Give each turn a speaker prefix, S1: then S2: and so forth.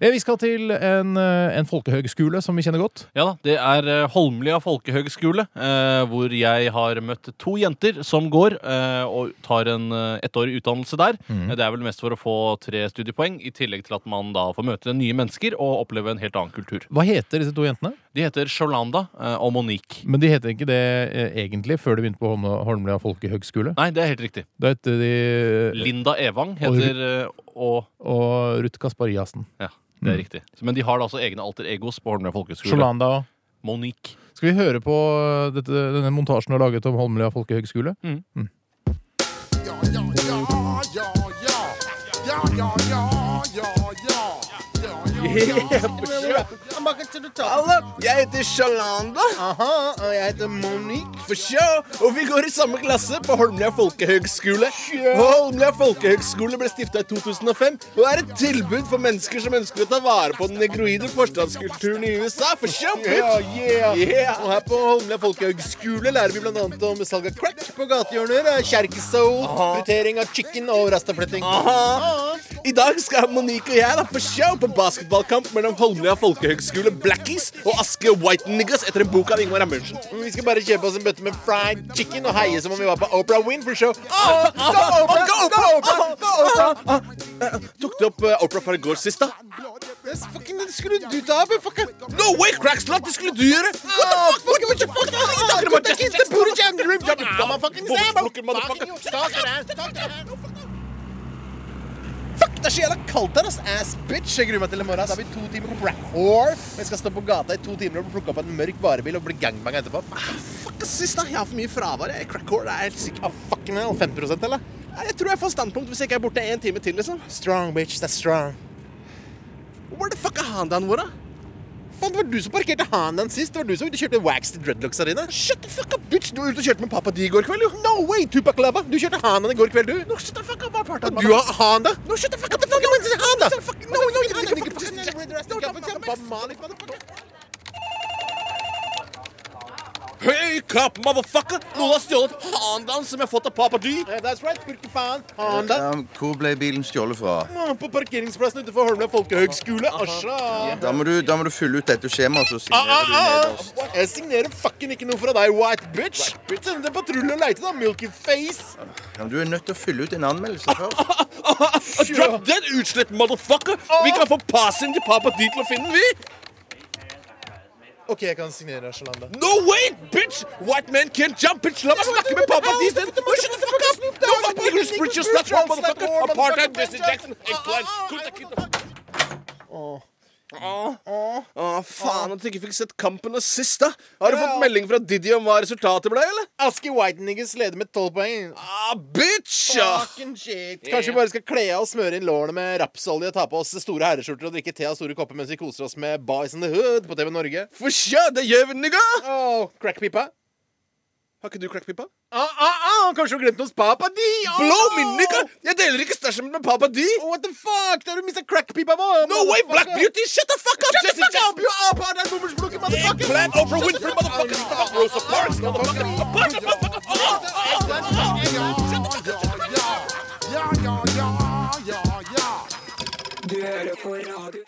S1: Eh, Vi skal til en, eh, en folkehøgskole som vi kjenner godt.
S2: Ja da, det er eh, Holmlia folkehøgskole, eh, hvor jeg har møtt to jenter som går eh, og tar en eh, ettårig utdannelse der. Eh, Det er vel mest for å få tre studiepoeng, i tillegg til at man da får møte nye mennesker og oppleve en helt annen kultur.
S1: Hva heter disse to jentene?
S2: De heter Sholanda eh, og Monique.
S1: Men de heter ikke det eh, egentlig før de begynte på Holm- Holmlia folkehøgskole.
S2: Nei, det er helt riktig.
S1: Da heter de eh,
S2: Linda Evang heter eh, og
S1: Og Ruth Kaspariassen.
S2: Ja, det er riktig. Men de har da altså egne alter egos på Holmlia folkehøgskole.
S1: Sholanda òg.
S2: Monique.
S1: Skal vi høre på eh, dette, denne montasjen du har laget om Holmlia folkehøgskole?
S3: Mm.
S4: Halla, jeg heter Shalanda. og jeg heter Monique. For sure. Og vi går i samme klasse på Holmlia folkehøgskole. Og Holmlia folkehøgskole ble stifta i 2005 og er et tilbud for mennesker som ønsker å ta vare på den negroide forstadskulturen i USA. For sure, bitch. Yeah. Og her på Holmlia folkehøgskole lærer vi bl.a. om salg av crack på gatehjørner, kjerkesoul, fritering av chicken og rastaflytting. I dag skal Monique og jeg da på show på basketballkamp mellom Holmlia folkehøgskole Blackies og Aske White Niggas etter en bok av Ingmar Amundsen. Vi skal bare kjøpe oss en bøtte med fried chicken og heie som om vi var på Opera Winfrey Show. Ah, ah, ah, go Oprah! Ah, ah, ah, ah. Tok du opp eh, Oprah fra i går sist, da? Det skulle du ta av, fucker. No way, crackslot! Det skulle du gjøre! What the fuck? What the fuck? What the fuck? What the fuck? Fuck, det er så jævla kaldt her, ass. Ass bitch. Jeg gruer meg til i morgen. ass. Da har vi to timer på Black Whore. Og jeg skal stå på gata i to timer og plukke opp en mørk varebil og bli gangbang etterpå. Ah, fuck, ass, sist da. Jeg har for mye fravær. Jeg er crack whore, det er jeg helt sikker. Ah, fuck, men 5 eller? Nei, jeg tror jeg får standpunkt hvis jeg ikke er borte en time til, liksom. Strong, bitch. That's strong. Where the fuck er Hondaen vår, da? Faen, det var du som parkerte Hanan sist. Det var du som ute og kjørte wax til dreadlocksa dine. Shut the fuck up, bitch. Du var ute og kjørte med pappa di i går kveld, jo. No way, Tupac Lava. Du kjørte Hanan i går kveld, du. No, shut the fuck up, Og du har Honda. No, shut the fuck up. What the fuck is Honda? No, no, you didn't fucking just Bob Marley, motherfucker. Hey, crap, motherfucker! Noen har stjålet Hondaen som jeg har fått av pappa di. That's right, faen. Honda.
S5: Ja, Hvor ble bilen stjålet fra?
S4: På parkeringsplassen utenfor Holmlia folkehøgskole. Asja.
S5: Da må du, da må du fylle ut dette skjemaet, så
S4: Ah,
S5: signerer du
S4: ah, ah.
S5: nederst.
S4: Jeg signerer fucking ikke noe fra deg, white bitch. Send en patrulje og leite, da, milky face.
S5: Ja, men du er nødt til å fylle ut en anmeldelse først.
S4: Drop den utslett, motherfucker. Vi kan få passen til pappa di til å finne den, vi. OK, jeg kan signere Shalanda. No way, bitch! White man can't jump, bitch. La meg snakke med pappa di isteden. No, shut the fuck up. No, fuck Nicholas Bridges, that one, motherfucker. Apartheid, Jesse Jackson, Ah, eggplant. Kunta Kitta. ah,
S3: Å, faen at du ikke fikk sett kampen og sist, da. Har du fått melding fra Didi om hva resultatet ble, eller?
S4: Aske White Niggas leder med tolv poeng.
S3: Ah, bitch! Ja.
S4: Kanskje vi bare skal kle av og smøre inn lårene med rapsolje, ta på oss store herreskjorter og drikke te av store kopper mens vi koser oss med Boys in the Hood på TV Norge.
S3: For sure, det gjør vi, nigga!
S4: Oh, crackpipa.
S3: Har ikke du crackpipa?
S4: Ah, ah, ah, kanskje du har glemt hos papa di? Ah!
S3: Blow me, nigga! Jeg deler ikke stæsjen min med pappa di!
S4: Oh, what the fuck? Da har du mista crackpipa vår!
S3: No way, Black Beauty! Shut the fuck up!
S4: Shut the
S3: Jesse
S4: fuck
S3: Jackson!
S4: up, you apartheid boomersblokken, motherfucker!
S3: Eggplant over Winfrey, motherfucker! Stop, Rosa Parks, motherfucker! Apartheid, motherfucker! Ah, ah, ah, ah. Shut the fuck up!
S6: Du hører på radio.